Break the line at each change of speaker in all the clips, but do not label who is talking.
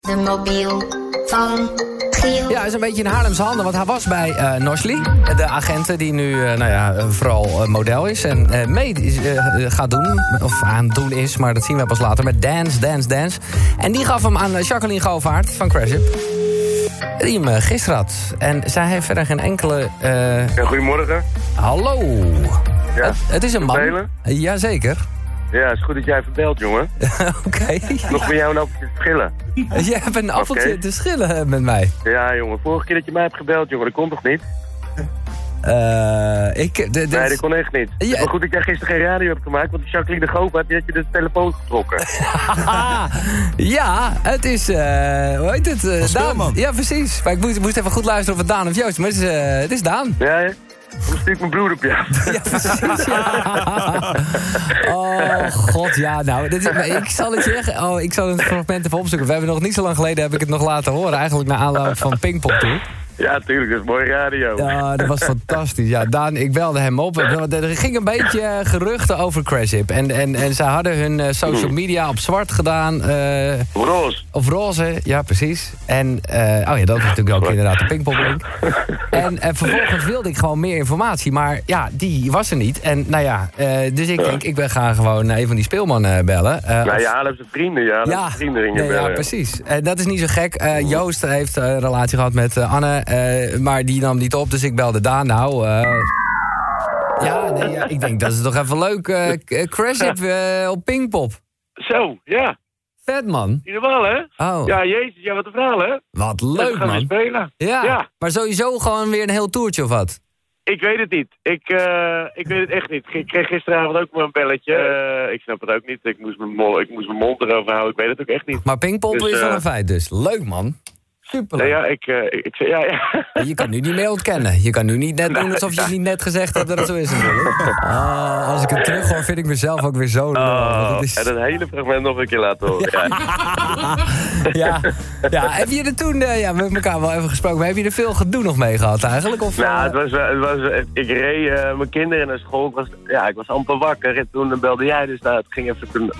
De mobiel van Giel.
Ja, is een beetje in Haarlemse handen, want hij was bij eh Nosley. De agenten die nu eh, nou ja, eh, vooral eh, model is en eh, mee is, eh, eh, gaat doen. Of aan het doen is, maar dat zien we pas later. Met Dance, Dance, Dance. En die gaf hem aan eh, Jacqueline Govaert van Crash Up. Die hem eh, gisteren had. En zij heeft verder geen enkele... eh,
Ja, goedemorgen.
hallo.
Ja.
Het, het is een man. Eh,
Vervelen?
Jazeker.
Ja, het is goed dat jij even belt, jongen.
Oké.
Nog voor jou een appeltje te schillen.
Jij hebt een appeltje
Oké.
te schillen eh, met mij.
Ja, jongen. Vorige keer dat je mij hebt gebeld, jongen, dat kon toch niet?
Eh, ik, de, dit-
Nee, dat kon echt niet.
Ja.
Maar goed dat jij gisteren geen radio hebt gemaakt, want die Jacqueline de Goof had je je de telefoon getrokken.
Ah, ja, het is, eh hoe heet het? eh, Daan.
Speelman.
Ja, precies. Maar ik moest, moest even goed luisteren of het Daan of Joost maar het is. eh, het is Daan.
Ja, hè? Dan stuur ik mijn broer op jou.
Ja, precies. Ja. Oh, god, ja, nou. Dit is, maar ik zal het je echt- oh, ik zal het fragment even opzoeken. We hebben nog niet zo lang geleden, heb ik het nog laten horen. Eigenlijk naar aanloop van Pinkpop toe.
Ja, tuurlijk, dat is mooie radio.
Ja, dat was fantastisch. Ja, Daan, ik belde hem op. Er er ging een beetje eh, geruchten over Crash Hip. En, en, en ze hadden hun eh, social media op zwart gedaan. eh,
Roos.
Of roze, ja precies. En, eh, oh ja, dat is natuurlijk ook inderdaad de pingponglink. En, en vervolgens wilde ik gewoon meer informatie, maar ja, die was er niet. En nou ja, eh, dus ik denk, ik ben gaan gewoon naar een van die speelmannen eh, bellen. Eh,
Nou,
of-
je Haarlemse vrienden, ja. Haarlemse vrienden gingen
nee, ja,
bellen. Mm.
precies. En dat is niet zo gek. Eh, Joost heeft eh, een relatie gehad met eh, Anne, eh, maar die nam niet op, dus ik belde Daan nou. eh. ja, nee, ja, ik denk, dat is toch even leuk. eh, k- eh, crash Hip eh, op Pingpop.
Zo, ja.
Vet, man.
In ieder geval, hè?
Oh,
Ja, jezus, ja, wat een verhaal, hè?
wat
we
leuk,
gaan weer
man.
spelen.
Ja,
Ja.
maar sowieso gewoon weer een heel toertje of wat?
Ik weet het niet. Ik, eh, ik weet het echt niet. Ik kreeg gisteravond ook maar een belletje. Eh, ik snap het ook niet. Ik moest, mijn mond, ik moest mijn mond erover houden. Ik weet het ook echt niet.
Maar pingpop
Dus,
is wel
eh,
een feit dus. Leuk man. Superleuk.
Nee, ja, ik, eh, ik, ik- ja, ja.
Je kan nu niet meer ontkennen. Je kan nu niet net doen alsof je het niet net gezegd hebt dat het zo is natuurlijk. Ah, als ik het terughoor vind ik mezelf ook weer zo lul, want
Oh,
het is-
En dat hele fragment nog een keer laten horen.
ja,
Ja.
ja, heb je er toen, eh, ja, we hebben elkaar wel even gesproken, maar heb je er veel gedoe nog mee gehad eigenlijk? Of,
Nou,
eh,
het was, wel- het was, wel- ik reed eh, mijn kinderen naar school. Ik was, ja, ik was amper wakker. En toen belde jij dus. Nou, het ging even... Toen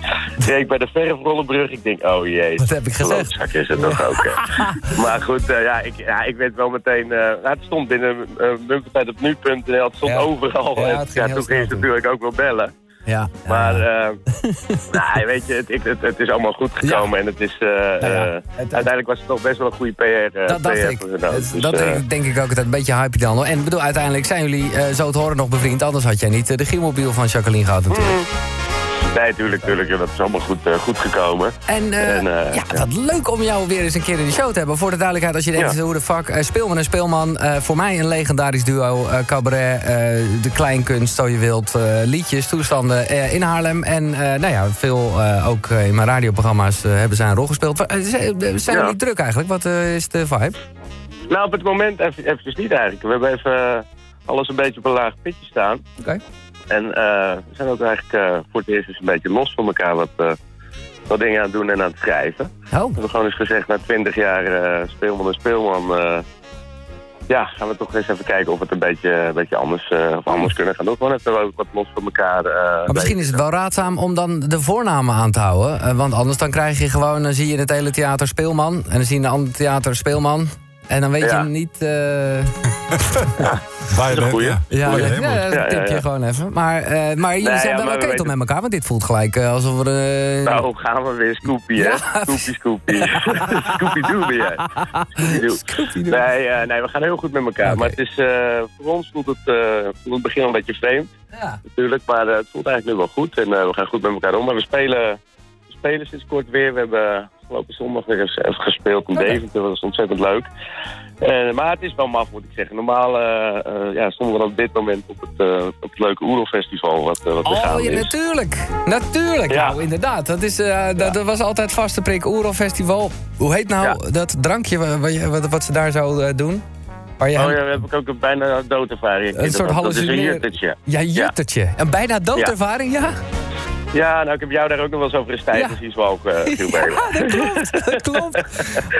reed ik bij de verfrollenbrug. Ik denk, oh jee.
Wat heb ik gezegd?
Klootzak is het toch ook. hè. maar goed, eh, ja, ik, ja, ik werd wel meteen... eh, nou, het stond binnen eh Bunkertijd op nu.nl. Het stond
Ja.
overal.
Ja,
En,
het
Ja,
ging heel
toen
snel
ging je
toen.
natuurlijk ook wel bellen.
ja, ja.
Maar, eh nou, weet je, het, ik- het, het is allemaal goed gekomen. En het is... eh, eh,
Nou het-
uiteindelijk was het toch best wel een goede PR. eh,
dat dacht
PR
ik.
voor hun ook. Dus,
dat
eh,
denk ik- denk ik ook altijd een beetje hype dan. hoor. En ik bedoel, uiteindelijk zijn jullie eh, zo te horen nog bevriend. Anders had jij niet eh, de Gielmobiel van Jacqueline gehad natuurlijk.
Nee, tuurlijk, tuurlijk. joh. Dat is allemaal goed, eh, goed gekomen.
En, eh,
En, eh,
ja, wat leuk om jou weer eens een keer in de show te hebben. Voor de duidelijkheid, als je denkt,
Ja.
hoe de fuck, eh, Speelman en Speelman. eh, voor mij een legendarisch duo, eh, cabaret, eh, de kleinkunst, zo je wilt. eh, liedjes, toestanden eh, in Haarlem. En eh, nou ja, veel eh, ook eh, in mijn radioprogramma's eh, hebben zij een rol gespeeld. Wa- eh, zijn eh, zijn
Ja.
jullie druk eigenlijk? Wat eh, is de vibe?
Nou, op het moment even, eventjes niet eigenlijk. We hebben even eh, alles een beetje op een laag pitje staan.
Oké.
En eh, we zijn ook eigenlijk eh, voor het eerst eens een beetje los van elkaar wat, eh, wat dingen aan het doen en aan het schrijven. We
Oh,
hebben gewoon eens gezegd, na twintig jaar eh, speelman en speelman... eh, ja, gaan we toch eens even kijken of we het een beetje, een beetje anders, eh, of anders kunnen gaan doen. Gewoon even ook wat los van elkaar. eh,
maar misschien is het wel raadzaam om dan de voornamen aan te houden. Eh, want anders dan krijg je gewoon, dan zie je in het hele theater Speelman. En dan zie je in een ander theater Speelman. En dan weet
Ja.
je niet... eh,
Waar
een goeie.
Ja,
Ja,
Goeie,
dat,
hè,
ja,
man?
dat
Ja, ja,
tip je
ja.
gewoon even. Maar, eh, maar jullie
Nee,
zijn
ja,
wel
maar
oké toch
we weten-
met elkaar, want dit voelt gelijk eh, alsof we... eh,
Nou, gaan we weer. Scoopy, hè?
Ja.
Scoopy, Scoopy. Scoopy-Doo ben jij. Scoopy-Doo.
Scoopy-Doo.
Nee, eh, nee, we gaan heel goed met elkaar.
Oké.
Maar het is, eh, voor ons voelt het, eh, voelt het begin al een beetje vreemd,
ja.
natuurlijk. Maar eh, het voelt eigenlijk nu wel goed. En eh, we gaan goed met elkaar om. Maar we spelen, we spelen sinds kort weer. We hebben afgelopen zondag weer eens even gespeeld in
Oké.
Deventer. Dat was ontzettend leuk. Eh, maar het is wel maf, moet ik zeggen. Normaal eh, eh, ja, stonden we op dit moment op het, eh, op het leuke Oerolfestival. Wat, eh, wat er
Oh,
gaande
ja,
is.
natuurlijk. Natuurlijk,
Ja.
nou, inderdaad. Dat, is, eh, dat, dat was altijd vaste prik Oerol Festival. Hoe heet nou dat drankje wa- wa- je- wat, wat ze daar zo eh, doen? Waar je
Oh
hem-
ja, daar heb ik ook een bijna doodervaring.
Een soort
Dat is een
hallucineer-
juttertje.
Ja, juttertje. Een bijna doodervaring, ja?
Ja, nou, ik heb jou daar ook nog wel eens over gestijgd.
Ja.
Precies wel ook, eh, Giel Belen.
Ja, dat klopt. Dat klopt.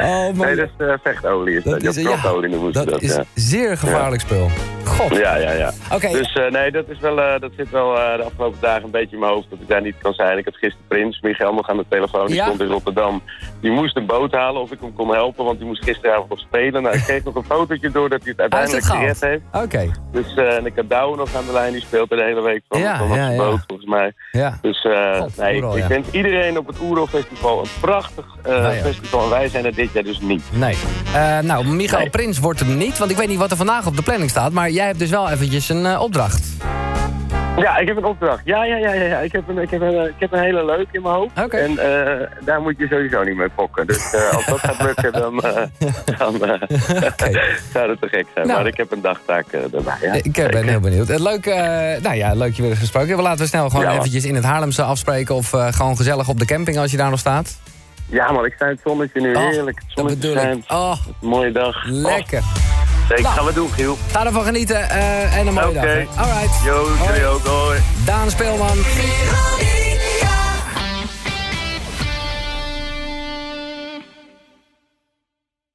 Oh, man.
Nee, dat is eh, vechtolie. Is dat
Dat is,
dat
ja,
krachtolie noemen ze dat.
dat is
ja.
zeer gevaarlijk spul. God.
Ja, ja, ja.
Oké.
Dus eh, nee, dat, is wel, eh, dat zit wel eh, de afgelopen dagen een beetje in mijn hoofd dat ik daar niet kan zijn. Ik had gisteren Prins, Michael nog aan de telefoon, die
Ja.
stond in Rotterdam. Die moest een boot halen of ik hem kon helpen, want die moest gisteravond nog spelen. Nou, ik kreeg nog een fotootje door dat hij het
Hij heeft
uiteindelijk
het gehaald.
gered heeft.
Oké.
Dus, eh, en ik heb Douwe nog aan de lijn, die speelt er de hele week van.
Ja,
van op
ja,
de
ja.
boot, volgens mij.
Ja.
Dus eh,
God,
nee,
Oerol,
ik
ja.
wens iedereen op het Oerol Festival een prachtig eh,
Nou ja.
festival. En wij zijn er dit jaar dus niet.
Nee. Eh, nou, Michael
Nee.
Prins wordt hem niet, want ik weet niet wat er vandaag op de planning staat. Maar jij hebt dus wel eventjes een eh, opdracht.
Ja, ik heb een opdracht. Ja, ja, ja, ja. ja. Ik, heb een, ik, heb een, eh, ik heb een hele leuk in mijn hoofd.
Oké.
En eh, daar moet je sowieso niet mee fokken. Dus eh, als dat gaat lukken, dan, eh, dan eh, zou dat te gek
Nou.
zijn. Maar ik heb een dagtaak eh, daarbij. Ja.
Ik eh, ben
Zeker.
heel benieuwd. Eh, Leuk, eh, nou ja, leuk je weer eens gesproken. hebben. Laten we snel gewoon
Ja, man.
eventjes in het Haarlemse afspreken... of eh, gewoon gezellig op de camping als je daar nog staat.
Ja, maar ik sta in het zonnetje nu.
Oh,
Heerlijk. Het
Dat
zonnetje
bedoel ik.
schijnt.
Oh,
Mooie dag.
lekker.
Oh, zeker.
Nou.
Gaan we doen, Giel.
Ga ervan genieten eh, en een mooie
Oké.
dag. hè. Alright.
Yo,
Hoi.
jullie ook. Hoi.
Daan Speelman.
Giel, Giel.